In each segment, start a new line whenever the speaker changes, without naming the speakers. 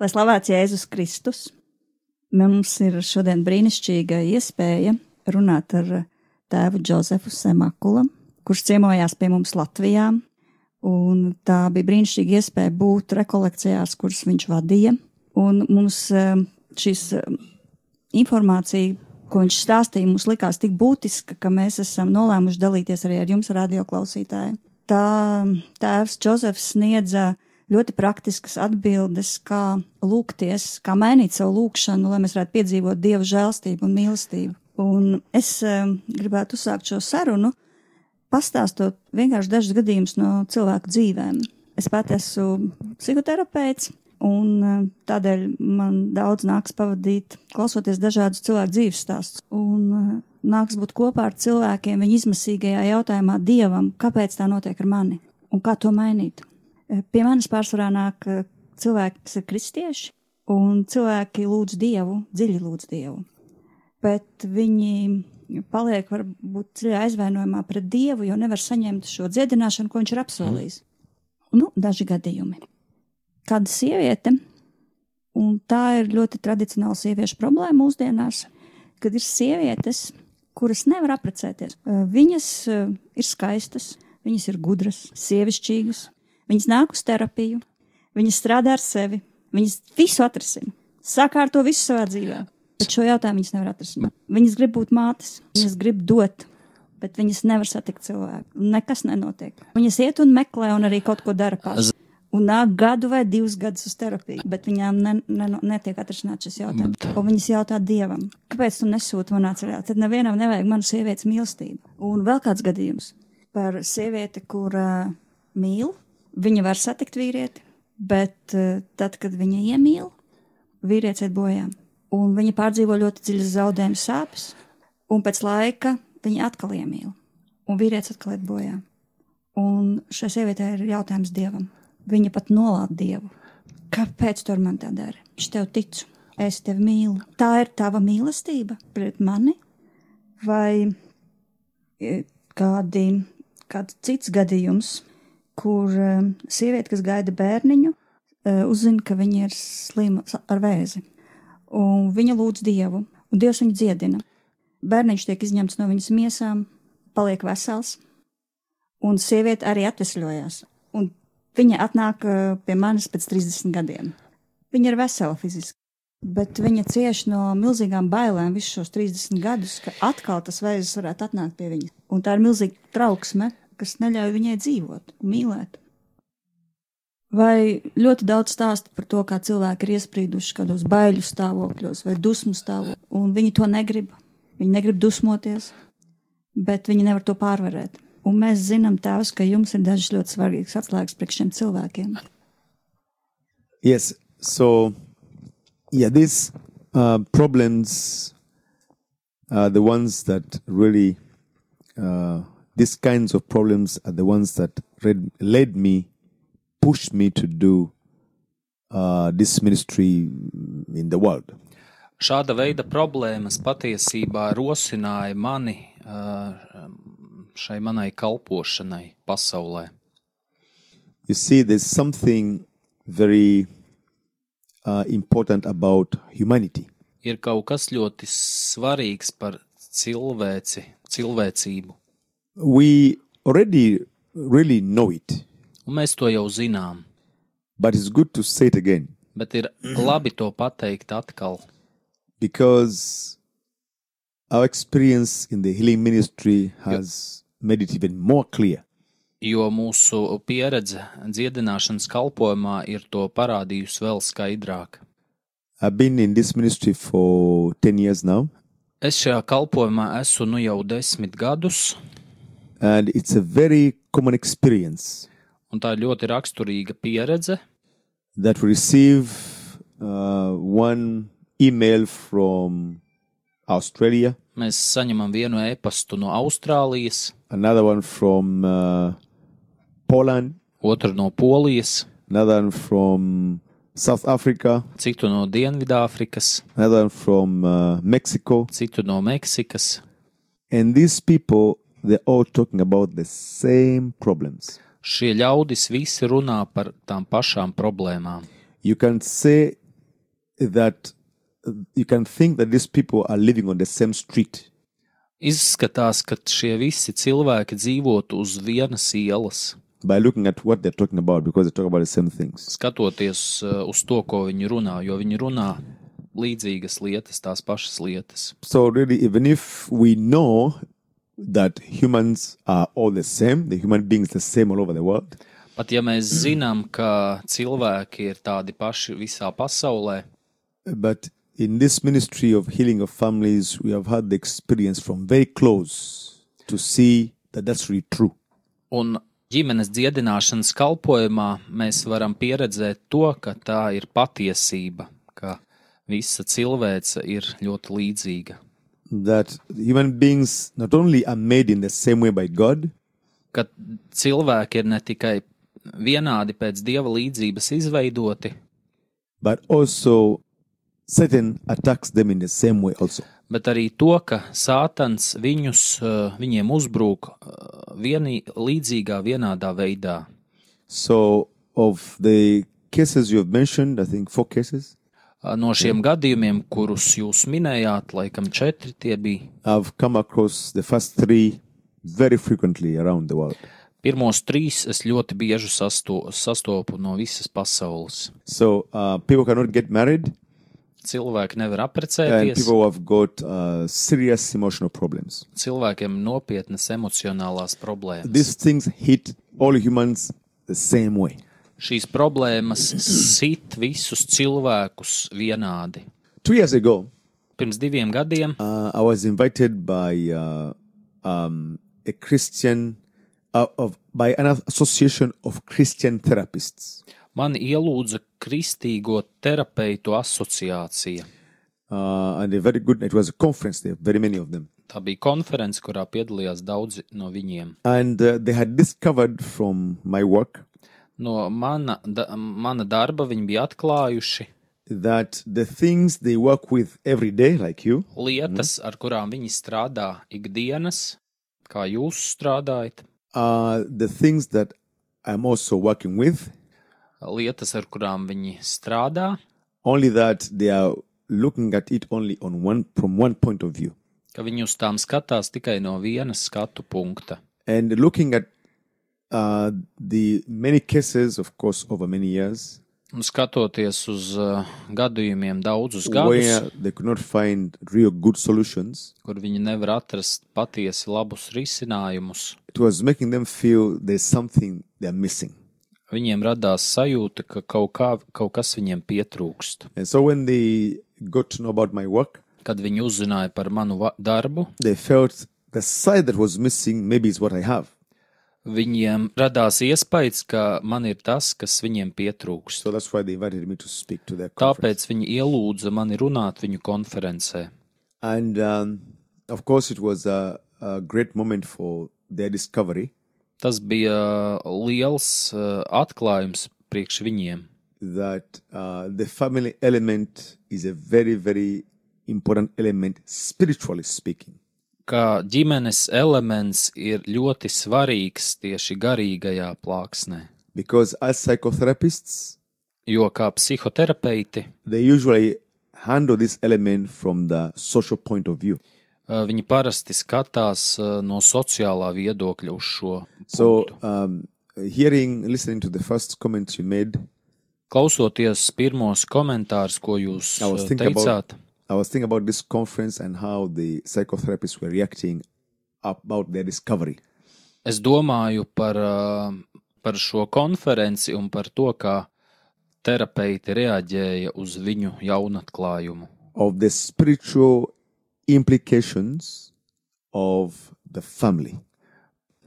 Lai slavēts Jēzus Kristus, mums ir šodien brīnišķīga iespēja runāt ar tēvu Džozefu Semakula, kurš ciemojās pie mums Latvijā. Un tā bija brīnišķīga iespēja būt rekolekcijās, kuras viņš vadīja. Un mums eh, šis eh, informācija, ko viņš stāstīja, mums likās tik būtiska, ka mēs esam nolēmuši dalīties arī ar jums, radioklausītāji. Tā tēvs Džozefs sniedza ļoti praktiskas atbildes, kā lūgties, kā mainīt savu lūgšanu, lai mēs varētu piedzīvot dievu žēlstību un mīlestību. Un es um, gribētu uzsākt šo sarunu, pastāstot vienkārši dažus gadījumus no cilvēku dzīvēm. Es pati esmu psihoterapeits, un um, tādēļ man daudz nāks pavadīt, klausoties dažādus cilvēku dzīves stāstus. Un um, nāks būt kopā ar cilvēkiem viņa izmisīgajā jautājumā dievam, kāpēc tā notiek ar mani un kā to mainīt. E, Pie manis pārsvarā nāk eh, cilvēki, kas ir kristieši, un cilvēki lūdz Dievu, dziļi lūdz Dievu. Bet viņi paliek varbūt dziļi aizvainojumā pret Dievu, jo nevar saņemt šo dziedināšanu, ko viņš ir apsolījis. Nu, daži gadījumi. Kāda sieviete, un tā ir ļoti tradicionāla sieviešu problēma mūsdienās, kad ir sievietes, kuras nevar aprecēties. Eh, Viņas eh, ir skaistas, viņas ir gudras, sievišķīgas, Viņas nāk uz terapiju, viņas strādā ar sevi, viņas visu atrisina, sakārto visu savā dzīvē. Bet šo jautājumu viņas nevar atrisināt. Viņas grib būt mātes, viņas grib dot, bet viņas nevar satikt cilvēku. Nekas nenotiek. Viņas iet un meklē, un arī kaut ko dara pašas. Un nāk gadu vai divus gadus uz terapiju, bet viņām ne, ne, netiek atrisināts šis jautājums. Un viņas jautā dievam, kāpēc tu nesūti manā ceļā? Tad nevienam nevajag manu sievietes mīlestību. Un vēl kāds gadījums par sievieti, kur uh, mīl, viņa var satikt vīrieti, bet eh, tad, kad viņa iemīl, vīrietis iet bojā. Un viņa pārdzīvo ļoti dziļas zaudējuma sāpes, un pēc laika viņa atkal iemīl, un vīrietis atkal iet bojā. Un šai sievietei ir jautājums dievam. Viņa pat nolādē dievu. Kāpēc tu ar mani tā dari? Es tev ticu, es tevi mīlu. Tā ir tava mīlestība pret mani, vai e, kādi, kāds cits gadījums, kur um, sieviete, kas gaida bērniņu, uh, uzzina, ka viņa ir slima sa- ar vēzi. Un viņa lūdz dievu, un dievs viņu dziedina. Bērniņš tiek izņemts no viņas miesām, paliek vesels, un sieviete arī atvesļojās. Un viņa atnāk uh, pie manis pēc 30 gadiem. Viņa ir vesela fiziski. Bet viņa cieš no milzīgām bailēm visus šos 30 gadus, ka atkal tas vēzis varētu atnākt pie viņas. Un tā ir milzīga trauksme, kas neļauj viņai dzīvot, mīlēt. Vai ļoti daudz stāsta par to, kā cilvēki ir iesprieduši kādos baiļu stāvokļos vai dusmu stāvokļos, un viņi to negrib. Viņi negrib dusmoties, bet viņi nevar to pārvarēt. Un mēs zinām, Tēvs, ka jums ir dažas ļoti svarīgas atslēgas priekš šiem cilvēkiem.
Yes. So, yeah, these uh, problems are the ones that really, uh, these kinds of problems are the ones that read, led me, pushed me to do uh, this ministry in the world.
Šāda veida problēmas patiesībā rosināja mani ā, šai manai kalpošanai pasaulē.
You see, there's something very uh, important about humanity.
Ir kaut kas ļoti svarīgs par cilvēci, cilvēcību,
We already really know it,
un mēs to jau zinām,
but it's good to say it again.
bet ir labi to pateikt atkal,
because our experience in the healing ministry has made it even more clear.
jo mūsu pieredze dziedināšanas kalpošanā ir to parādījusi vēl skaidrāk.
I've been in this ministry for 10 years now,
Es šajā kalpošanā esmu nu jau desmit gadus,
and it's a very common experience
un tā ir ļoti raksturīga pieredze.
that we receive uh, one email from Australia,
Mēs saņemam vienu e-pastu no Austrālijas,
another one from uh, Poland,
otru no Polijas,
another one from South Africa,
citu no Dienvidāfrikas,
another one from uh, Mexico.
citu no Meksikas.
And these people, they're all talking about the same problems.
Šie ļaudis visi runā par tām pašām problēmām.
You can say that you can think that these people are living on the same street,
Izskatās, ka šie visi cilvēki dzīvotu uz vienas ielas,
by looking at what they're talking about because they talk about the same things.
skatoties eh, uz to, ko viņi runā, jo viņi runā līdzīgas lietas, tās pašas lietas.
So, really, even if we know that humans are all the same, the human beings the same all over the world,
Pat ja mēs zinām, ka cilvēki ir tādi paši visā pasaulē,
but in this ministry of healing of families, we have had the experience from very close to see that that's really true.
un ģimenes dziedināšanas kalpošanā mēs varam pieredzēt to, ka tā ir patiesība, ka visa cilvēce ir ļoti līdzīga,
That human beings not only are made in the same way by God,
ka cilvēki ir ne tikai vienādi pēc dieva līdzības izveidoti,
but also Satan attacks them in the same way also.
bet arī to, ka sātans viņus, eh, viņiem uzbrūk eh, vienī, līdzīgā, vienādā veidā.
So of the cases you have mentioned, I think four cases,
No šiem gadījumiem, kurus jūs minējāt, laikam četri tie bija.
I've come across the first three very frequently around the world.
Pirmos trīs es ļoti bieži sasto, sastopu no visas pasaules.
So uh, people cannot get married,
Cilvēki nevar
and
apprecēties,
people have got uh, serious emotional problems.
cilvēkiem nopietnas emocionālās problēmas.
These
This...
things hit all humans the same way.
Šīs problēmas sit visus cilvēkus vienādi.
Two years ago,
Pirms diviem gadiem
uh, I was invited by uh, um, a Christian uh, of by an association of Christian therapists.
mani ielūdza Kristīgo terapeitu asociācija.
uh, and a very good. It was a conference there, very many of them,
Tā bija konference, kurā piedalījās daudzi no viņiem.
and uh, they had discovered from my work
No mana, da, mana darba viņi bija atklājuši
that the things they work with every day, like you,
lietas, mm. ar kurām viņi strādā ikdienas, kā jūs strādājat,
are the things that I'm also working with.
lietas, ar kurām viņi strādā,
Only that they are looking at it only on one from one point of view,
ka viņi uz tām skatās tikai no vienas skatu punkta.
and looking at uh, the many cases, of course, over many years,
Un skatoties uz uh, gadījumiem daudzus gadus,
where they could not find real good solutions.
kur viņi nevar atrast patiesi labus risinājumus,
It was making them feel there's something they're missing.
viņiem radās sajūta, ka kaut, kā, kaut kas viņiem pietrūkst.
And so when they got to know about my work,
Kad viņi uzzināja par manu va- darbu,
they felt the side that was missing maybe is what I have.
Viņiem radās iespējas, ka man ir tas, kas viņiem pietrūks.
So that's why they invited me to speak to their conference.
Tāpēc viņi ielūdza mani runāt viņu konferencē.
And um, of course, it was a, a great moment for their discovery
Tas bija uh, liels eh, atklājums priekš viņiem,
that uh, the family element is a very, very important element, spiritually speaking.
ka ģimenes elements ir ļoti svarīgs tieši garīgajā plāksnē.
Because as psychotherapists,
Jo kā psihoterapeiti, eh,
they usually handle this element from the social point of view.
uh, viņi parasti skatās eh, no sociālā viedokļa uz šo.
So, um, hearing, listening to the first comments you made,
Klausoties pirmos komentārus, ko jūs
I was
eh,
thinking
teicāt,
about I was thinking about this conference and how the psychotherapists were reacting about their discovery.
Es domāju par, ā, par šo konferenci un par to, kā terapeiti reaģēja uz viņu jaunatklājumu,
Of the spiritual implications of the family.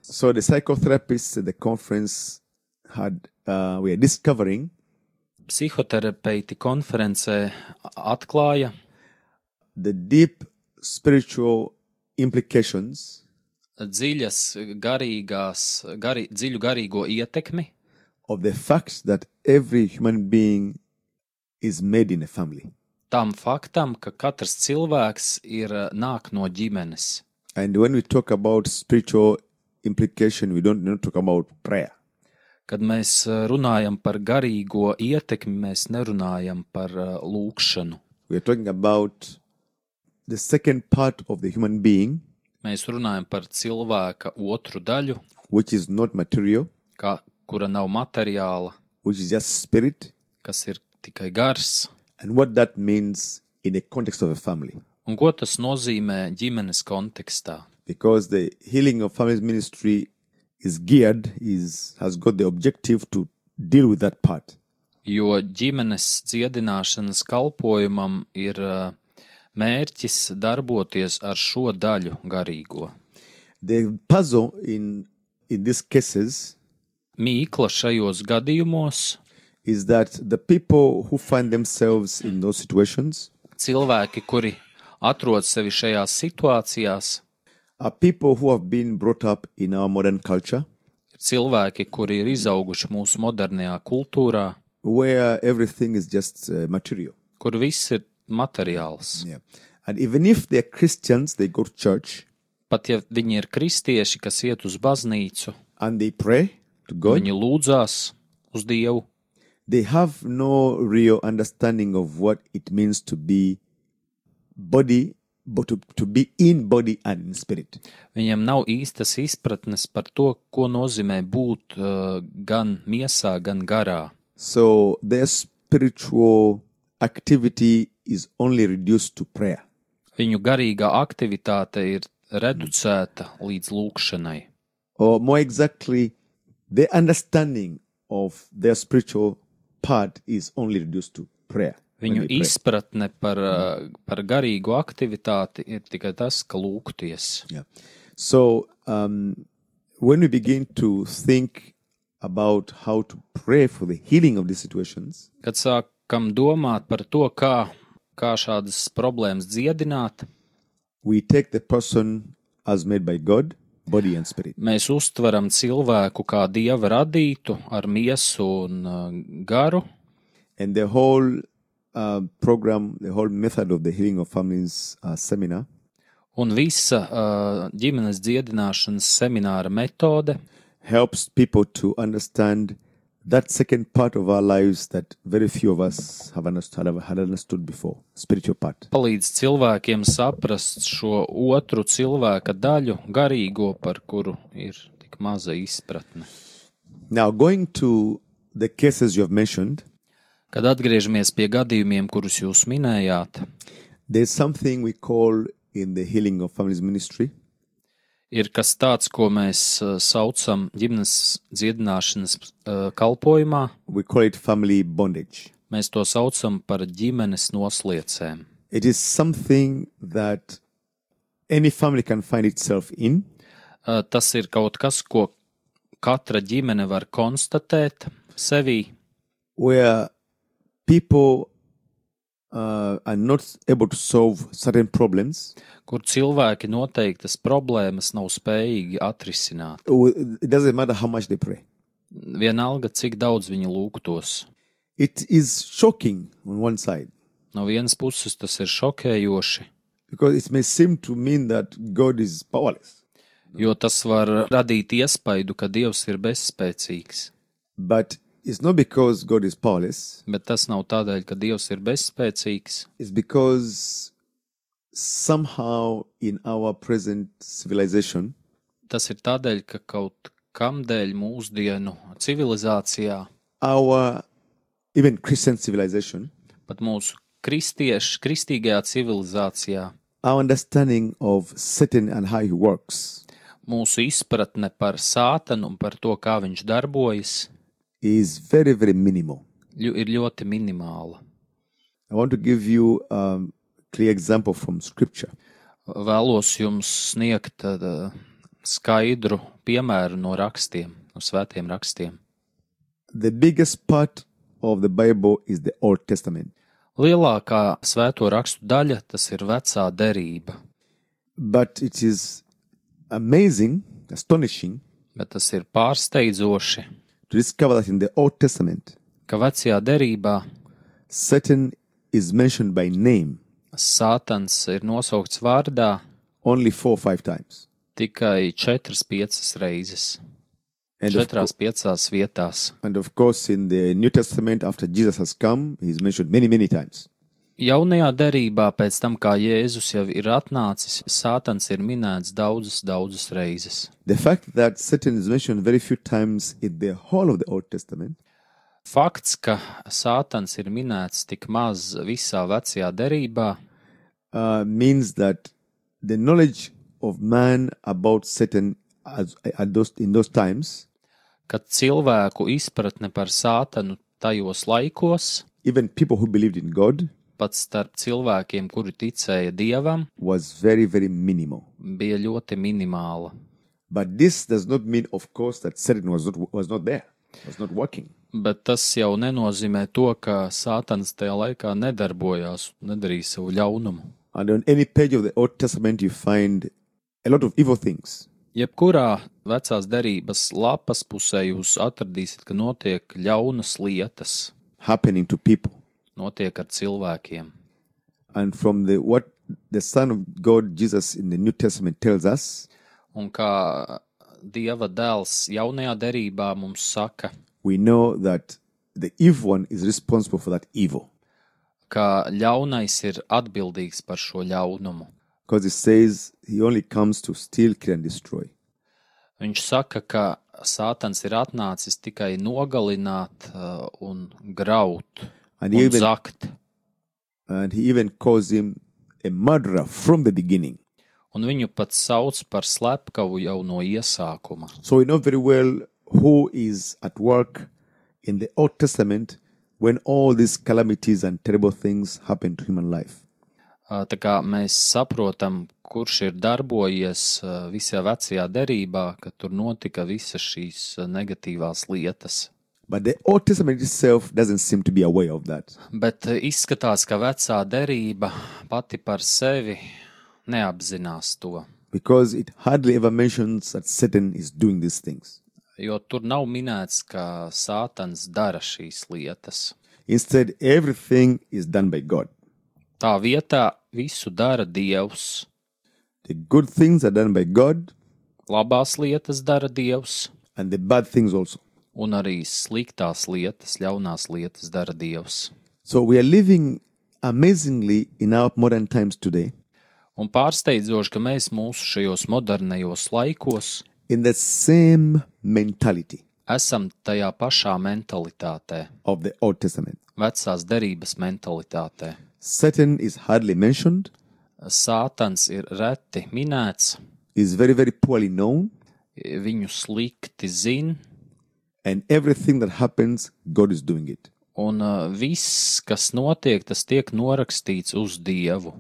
So the psychotherapists at the conference had uh, were discovering
psihoterapeiti konferencē atklāja
the deep spiritual implications
dziļas garīgās, garī, dziļu garīgo ietekmi
of the fact that every human being is made in a family.
tam faktam, ka katrs cilvēks ir eh, nāk no ģimenes.
And when we talk about spiritual implication, we don't, not talk about prayer.
Kad mēs eh, runājam par garīgo ietekmi, mēs nerunājam par eh, lūkšanu.
We are talking about the second part of the human being,
Mēs runājam par cilvēka otru daļu,
which is not material,
kā, kura nav materiāla,
which is just spirit,
kas ir tikai gars.
and what that means in the context of a family.
Un ko tas nozīmē ģimenes kontekstā?
Because the healing of families ministry is geared, is has got the objective to deal with that part.
Jo ģimenes dziedināšanas kalpojumam ir eh, mērķis darboties ar šo daļu garīgo.
The puzzle in in these cases
Mīkla šajos gadījumos
is that the people who find themselves in those situations
cilvēki, kuri atrod sevi šajās situācijās,
are people who have been brought up in our modern culture,
ir cilvēki, kuri ir izauguši mūsu modernajā kultūrā,
where everything is just uh, material.
kur viss ir materiāls.
Yeah. And even if they're Christians, they go to church
Pat ja viņi ir kristieši, kas iet uz baznīcu,
and they pray to God,
viņi lūdzās uz Dievu,
they have no real understanding of what it means to be body, but to, to be in body and in spirit.
viņiem nav īstas izpratnes par to, ko nozīmē būt eh, gan miesā, gan garā.
So their spiritual activity is only reduced to prayer.
Viņu garīgā aktivitāte ir reducēta līdz lūkšanai.
or more exactly, their understanding of their spiritual part is only reduced to prayer. when
Viņu
they pray.
izpratne par, eh, par garīgo aktivitāti ir tikai tas, ka lūgties.
Yeah. So um, when we begin to think about how to pray for the healing of these situations,
Kad sākam domāt par to, kā, kā šādas problēmas dziedināt,
we take the person as made by God, body and spirit.
mēs uztveram cilvēku kā dieva radītu ar miesu un eh, garu,
And the whole uh, program, the whole method of the healing of families uh, seminar
un visa eh, ģimenes dziedināšanas semināra metode
helps people to understand that second part of our lives that very few of us have understood, have, had understood before spiritual part.
palīdz cilvēkiem saprast šo otru cilvēka daļu, garīgo, par kuru ir tik maza izpratne.
Now, going to the cases you have mentioned,
Kad atgriežamies pie gadījumiem, kurus jūs minējāt,
there's something we call in the healing of families ministry
ir kas tāds, ko mēs eh, saucam ģimenes dziedināšanas eh, kalpošanā.
we call it family bondage.
Mēs to saucam par ģimenes nosliecēm.
It is something that any family can find itself in,
Eh, Tas ir kaut kas, ko katra ģimene var konstatēt sevī,
where people uh, are not able to solve certain problems.
kur cilvēki noteiktas problēmas nav spējīgi atrisināt.
It doesn't matter how much they pray.
Vienalga, cik daudz viņi lūgtos.
it is shocking on one side
No vienas puses tas ir šokējoši,
because it may seem to mean that God is powerless.
jo tas var radīt iespaidu, ka Dievs ir bezspēcīgs.
But it's not because God is powerless,
Bet tas nav tādēļ, ka Dievs ir bezspēcīgs,
it's because somehow in our present civilization,
tas ir tādēļ, ka kaut kam dēļ mūsdienu civilizācijā,
our even Christian civilization,
pat mūsu kristiešu, kristīgajā civilizācijā,
our understanding of Satan and how he works
mūsu izpratne par sātanu un par to, kā viņš darbojas,
is very, very minimal.
ļu- ir ļoti minimāla.
I want to give you a clear example from scripture.
Vēlos jums sniegt uh, skaidru piemēru no rakstiem, no svētiem rakstiem.
The biggest part of the Bible is the Old Testament.
Lielākā svēto rakstu daļa tas ir vecā derība,
But it is amazing, astonishing
bet tas ir pārsteidzoši,
to discover that in the Old Testament,
ka vecajā derībā
Satan is mentioned by name
Sātans ir nosaukts vārdā
only four or five times.
tikai 4-5 reizes,
And of,
4-5 vietās.
and of course, in the New Testament, after Jesus has come, he's mentioned many, many times.
Jaunajā derībā, pēc tam, kā Jēzus jau ir atnācis, Sātans ir minēts daudzas, daudzas reizes.
The fact that Satan is mentioned very few times in the whole of the Old Testament
Fakts, ka Sātans ir minēts tik maz visā vecajā derībā,
uh, means that the knowledge of man about Satan as, at those, in those times,
ka cilvēku izpratne par Sātanu tajos laikos,
even people who believed in God,
pat starp cilvēkiem, kuri ticēja dievam,
was very, very minimal.
bija ļoti minimāla.
But this does not mean, of course, that Satan was not, was not there, was not working.
Bet tas jau nenozīmē to, ka Sātans tajā laikā nedarbojās, nedarīja savu ļaunumu.
And on any page of the Old Testament, you find a lot of evil things.
Jebkurā vecās derības lapas pusē jūs atradīsiet, ka notiek ļaunas lietas,
happening to people.
notiek ar cilvēkiem.
And from the what the Son of God Jesus in the New Testament tells us,
Un kā Dieva dēls jaunajā derībā mums saka,
we know that the evil one is responsible for that evil.
ka ļaunais ir atbildīgs par šo ļaunumu.
Because it says he only comes to steal, kill, and destroy.
Viņš saka, ka Sātans ir atnācis tikai nogalināt eh, un graut,
And he,
un
even,
zakt.
and he even calls him a murderer from the beginning.
Un viņu pat sauc par slepkavu jau no iesākuma.
So we know very well who is at work in the Old Testament when all these calamities and terrible things happen to human life.
Ā, Tā kā mēs saprotam, kurš ir darbojies ā, visā vecajā derībā, ka tur notika visas šīs ā, negatīvās lietas.
But the Old Testament itself doesn't seem to be aware of that.
Bet ā, izskatās, ka vecā derība pati par sevi neapzinās to,
because it hardly ever mentions that Satan is doing these things.
jo tur nav minēts, ka Sātans dara šīs lietas.
Instead, everything is done by God.
Tā vietā visu dara Dievs,
The good things are done by God,
labās lietas dara Dievs,
and the bad things also.
un arī sliktās lietas, ļaunās lietas dara Dievs.
So we are living amazingly in our modern times today
Un pārsteidzoši, ka mēs mūsu šajos modernajos laikos
in the same mentality
esam tajā pašā mentalitātē,
of the Old Testament.
vecās derības mentalitātē.
Satan is hardly mentioned,
Sātans ir reti minēts,
is very, very poorly known,
viņu slikti zina,
and everything that happens, God is doing it.
un uh, viss, kas notiek, tas tiek norakstīts uz Dievu.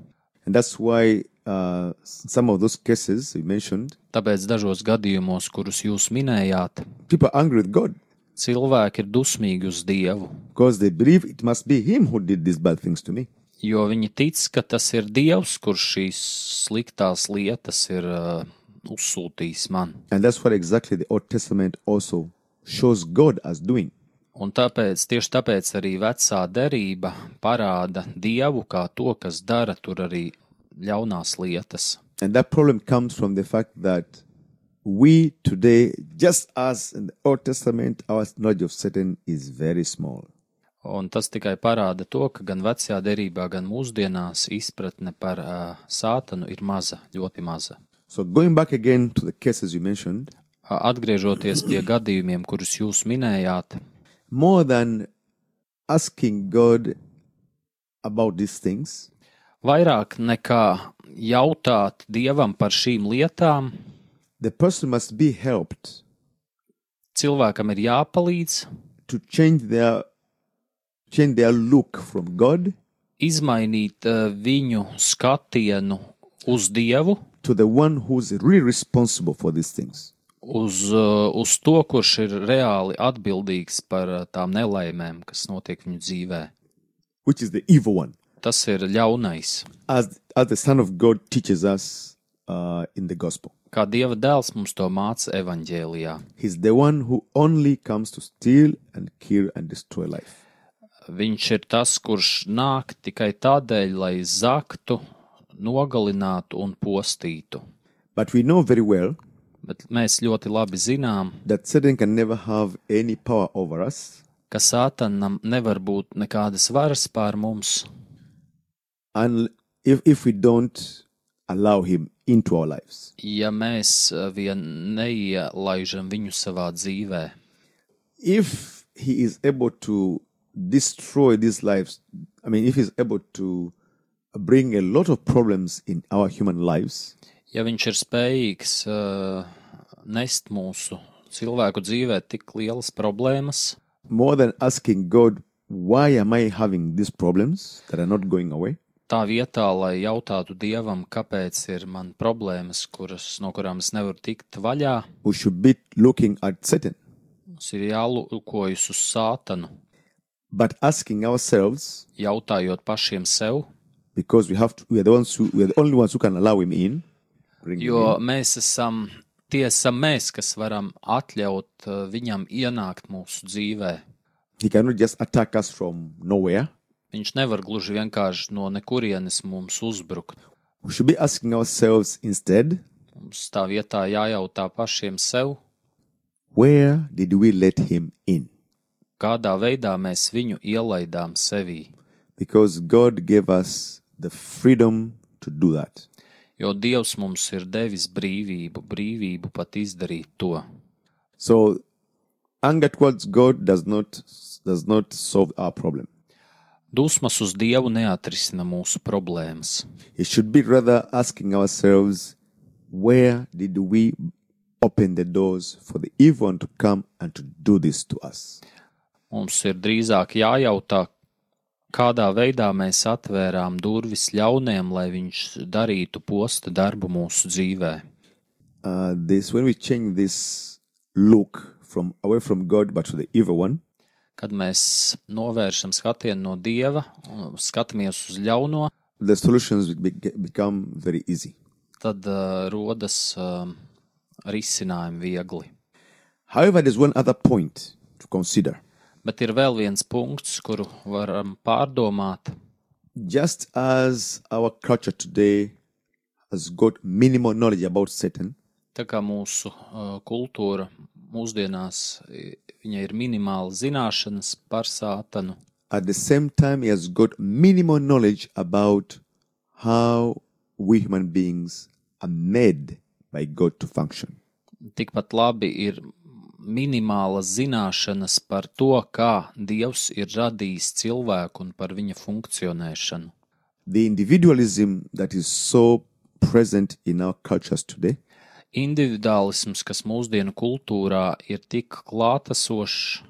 And that's why uh, some of those cases we mentioned,
Tāpēc dažos gadījumos, kurus jūs minējāt,
people are angry with God.
cilvēki ir dusmīgi uz Dievu,
because they believe it must be him who did these bad things to me.
jo viņi tic, ka tas ir Dievs, kurš šīs sliktās lietas ir uh, uzsūtījis man.
And that's what exactly the Old Testament also shows God as doing.
Un tāpēc, tieši tāpēc arī vecā derība parāda dievu kā to, kas dara tur arī ļaunās lietas.
And that problem comes from the fact that we today, just as in the Old Testament, our knowledge of Satan is very small.
Un tas tikai parāda to, ka gan vecajā derībā, gan mūsdienās izpratne par uh, sātanu ir maza, ļoti maza.
So going back again to the cases you mentioned,
Ā, Atgriežoties pie gadījumiem, kurus jūs minējāt,
more than asking God about these things,
vairāk nekā jautāt dievam par šīm lietām,
the person must be helped
cilvēkam ir jāpalīdz
to change their change their look from God
izmainīt uh, viņu skatienu uz dievu
to the one who's really responsible for these things.
uz, uh, uz to, kurš ir reāli atbildīgs par uh, tām nelaimēm, kas notiek viņu dzīvē.
which is the evil one.
Tas ir ļaunais.
As, as the Son of God teaches us uh, in the gospel,
Kā dieva dēls mums to māca evanģēlijā.
He's the one who only comes to steal and kill and destroy life.
Viņš ir tas, kurš nāk tikai tādēļ, lai zaktu, nogalinātu un postītu.
But we know very well
Bet mēs ļoti labi zinām,
that Satan can never have any power over us
ka Sātanam nevar būt nekādas varas pār mums,
and if, if we don't allow him into our lives.
ja mēs eh, vien neielaižam viņu savā dzīvē.
If he is able to destroy these lives, I mean, if he's able to bring a lot of problems in our human lives,
Ja viņš ir spējīgs eh, nest mūsu cilvēku dzīvē tik lielas problēmas,
more than asking God, why am I having these problems that are not going away?
tā vietā, lai jautātu dievam, kāpēc ir man problēmas, kuras, no kurām es nevaru tikt vaļā,
We should be looking at Satan,
mums ir jālūkojas uz sātanu,
but asking ourselves
jautājot pašiem sev,
because we have to, we are the ones who we are the only ones who can allow him in. Bring him
jo
in.
mēs esam tie, esam mēs, kas varam atļaut eh, viņam ienākt mūsu dzīvē.
He cannot just attack us from nowhere.
Viņš nevar gluži vienkārši no nekurienes mums uzbrukt.
We should be asking ourselves instead,
Mums tā vietā jājautā pašiem sev,
where did we let him in?
kādā veidā mēs viņu ielaidām sevī.
Because God gave us the freedom to do that.
Jo Dievs mums ir devis brīvību, brīvību pat izdarīt to.
So anger towards God does not does not solve our problem.
Dusmas uz Dievu neatrisina mūsu problēmas.
It should be rather asking ourselves, where did we open the doors for the evil one to come and to do this to us?
Mums ir drīzāk jājautā, kādā veidā mēs atvērām durvis ļauniem, lai viņš darītu posta darbu mūsu dzīvē.
Uh, this when we change this look from away from God but to the evil one,
Kad mēs novēršam skatienu no Dieva, un skatāmies uz ļauno,
the solutions be- be- become very easy.
tad uh, rodas uh, risinājumi viegli.
However, there's one other point to consider.
Bet ir vēl viens punkts, kuru varam pārdomāt.
Just as our culture today has got minimal knowledge about Satan,
Tā kā mūsu uh, kultūra mūsdienās i- viņai ir minimāla zināšanas par sātanu,
at the same time he has got minimal knowledge about how we human beings are made by god to function
tikpat labi ir minimāla zināšanas par to, kā Dievs ir radījis cilvēku un par viņa funkcionēšanu.
the individualism that is so present in our cultures today
Individuālisms, kas mūsdienu kultūrā ir tik klātesošs,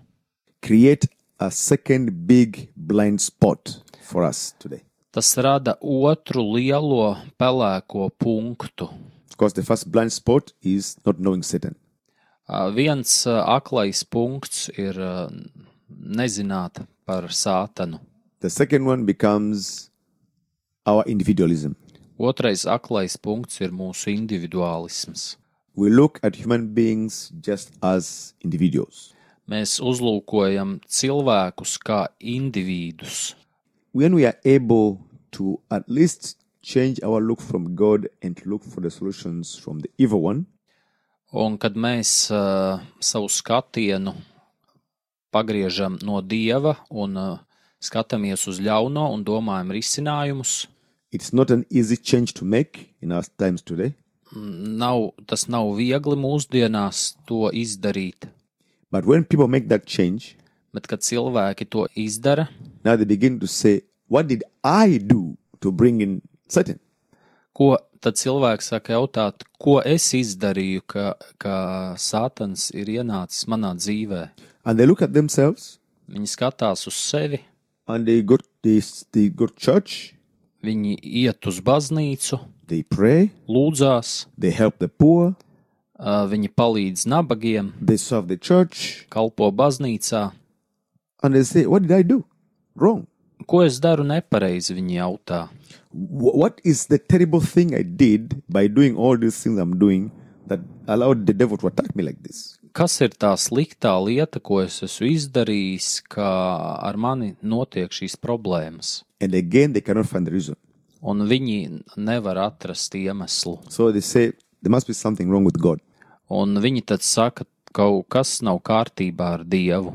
create a second big blind spot for us today
tas rada otru lielo pelēko punktu.
of course the first blind spot is not knowing satan
Ā, Viens ā, aklais punkts ir ā, nezināt par sātanu.
the second one becomes our individualism
Otrais aklais punkts ir mūsu individuālisms.
we look at human beings just as individuals
Mēs uzlūkojam cilvēkus kā indivīdus.
when we are able to at least change our look from God and to look for the solutions from the evil one,
Un kad mēs uh, savu skatienu pagriežam no dieva un uh, skatāmies uz ļauno un domājam risinājumus,
it's not an easy change to make in our times today,
nav, tas nav viegli mūsdienās to izdarīt.
but when people make that change,
Bet, kad cilvēki to izdara,
now they begin to say, What did I do to bring in Satan?
ko tad cilvēks sāk jautāt, ko es izdarīju, ka, ka Sātans ir ienācis manā dzīvē?
And they look at themselves
Viņi skatās uz sevi,
and they go, they, they go to church,
viņi iet uz baznīcu,
they pray,
lūdzās,
they help the poor,
Uh, Viņi palīdz nabagiem,
They serve the church
kalpo baznīcā.
and they say, What did I do wrong?
Ko es daru nepareizi, viņi jautā.
Wh- What is the terrible thing I did by doing all these things I'm doing that allowed the devil to attack me like this?
Kas ir tā sliktā lieta, ko es esmu izdarījis, ka ar mani notiek šīs problēmas?
And again, they cannot find the reason.
Un viņi nevar atrast iemeslu.
So they say, There must be something wrong with God
Un viņi tad saka, kaut kas nav kārtībā ar Dievu.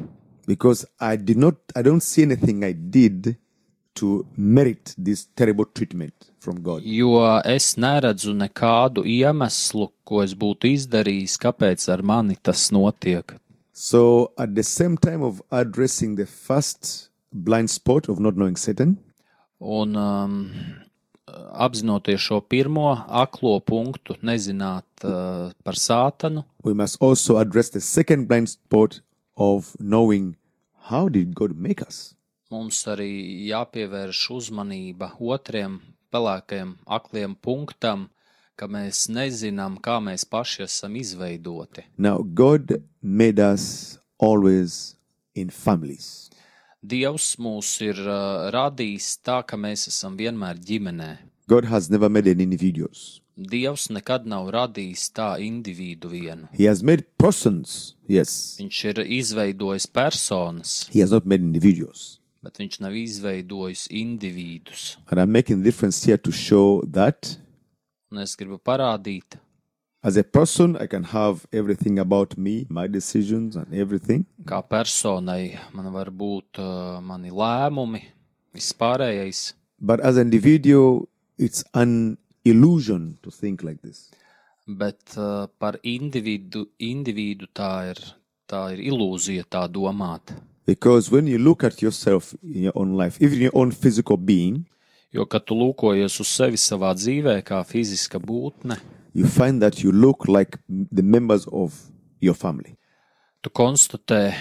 because I did not, I don't see anything I did to merit this terrible treatment from God.
Jo es neredzu nekādu iemeslu, ko es būtu izdarījis, kāpēc ar mani tas notiek.
So at the same time of addressing the first blind spot of not knowing Satan,
Un um, apzinoties šo pirmo aklo punktu, nezināt uh, par sātanu,
we must also address the second blind spot of knowing how did God make us?
mums arī jāpievērš uzmanība otriem pelēkajiem akliem punktam, ka mēs nezinām, kā mēs paši esam izveidoti.
Now, God made us always in families.
Dievs mūs ir uh, radījis tā, ka mēs esam vienmēr ģimenē.
God has never made any individuals.
Dievs nekad nav radījis tā individu vienu.
He has made persons, yes.
Viņš ir izveidojis personas,
He has not made individuals.
bet viņš nav izveidojis individus.
And I'm making the difference here to show that
Un es gribu parādīt,
as a person, I can have everything about me, my decisions and everything.
kā personai man var būt uh, mani lēmumi, vispārējais.
But as an individual, it's an illusion to think like this.
Bet uh, par individu, individu tā ir, tā ir ilūzija, tā domāt.
Because when you look at yourself in your own life, even your own physical being,
Jo, kad tu lūkojies uz sevi savā dzīvē, kā fiziska būtne,
you find that you look like m- the members of your family.
tu konstatē,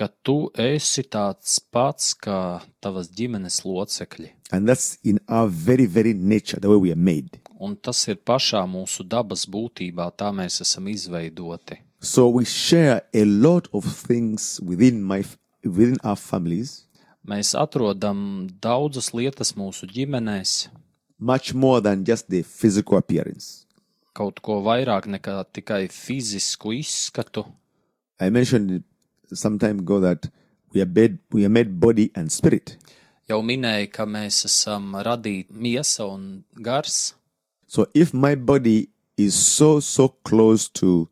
ka tu esi tāds pats kā tavas ģimenes locekļi.
And that's in our very, very nature, the way we are made.
Un tas ir pašā mūsu dabas būtībā, tā mēs esam izveidoti.
So we share a lot of things within my f- within our families,
Mēs atrodam daudzas lietas mūsu ģimenēs,
much more than just the physical appearance.
kaut ko vairāk nekā tikai fizisku izskatu.
I mentioned some time ago that we are made, we are made body and spirit.
Jau minēju, ka mēs esam radīti miesa un gars.
So if my body is so so close to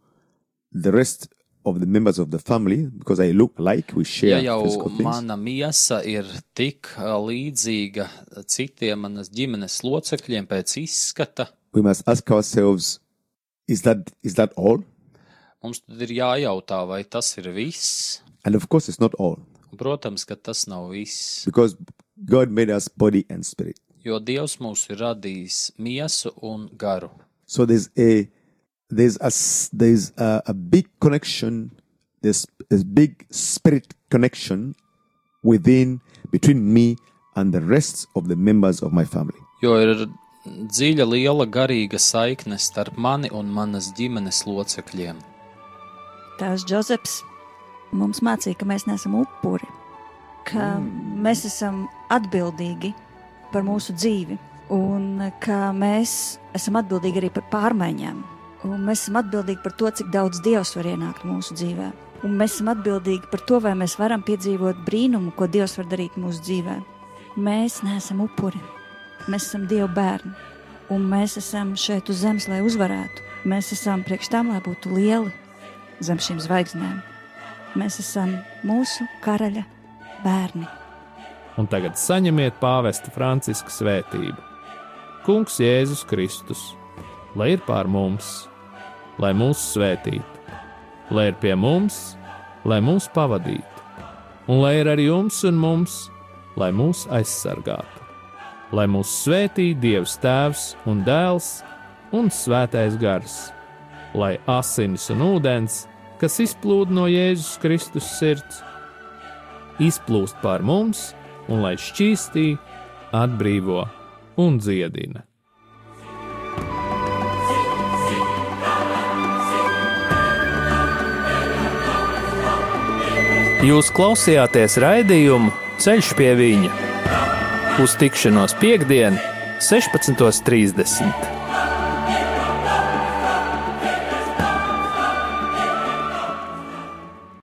the rest of the members of the family because I look like we
Ja
share
jau
physical things,
mana miesa ir tik eh, līdzīga citiem manas ģimenes locekļiem pēc izskata,
we must ask ourselves: Is that is that all?
mums tad ir jājautā, vai tas ir viss.
And of course, it's not all
Un, Protams, ka tas nav viss,
because God made us body and spirit.
jo Dievs mūs ir radījis miesu un garu.
So there's a there's a s- there's a, a big connection. There's a big spirit connection within between me and the rest of the members of my family.
Jo ir dziļa, liela garīga saikne starp mani un manas ģimenes locekļiem.
Tās Džozefs mums mācīja, ka mēs neesam upuri, ka mēs esam atbildīgi par mūsu dzīvi un ka mēs esam atbildīgi arī par pārmaiņām. Un mēs esam atbildīgi par to, cik daudz Dievs var ienākt mūsu dzīvē. Un mēs esam atbildīgi par to, vai mēs varam piedzīvot brīnumu, ko Dievs var darīt mūsu dzīvē. Mēs neesam upuri. Mēs esam Dieva bērni. Un mēs esam šeit uz zemes, lai uzvarētu. Mēs esam priekš tam, lai būtu lieli zem šīm zvaigznēm. Mēs esam mūsu karaļa bērni.
un tagad saņemiet pāvesta Franciska svētību. Kungs Jēzus Kristus, lai ir pār mums, lai mūs svētītu, lai ir pie mums, lai mūs pavadītu, un lai ir ar jums un mums, lai mūs aizsargātu, lai mūs svētī Dievs Tēvs un Dēls un Svētais Gars, lai asinis un ūdens, kas izplūda no Jēzus Kristus sirds, izplūst pār mums, un lai šķīstī, atbrīvo un dziedina.
Sing,
Jūs klausījāties raidījumu Ceļš pie viņa. Uz tikšanos piekdien, 16.30.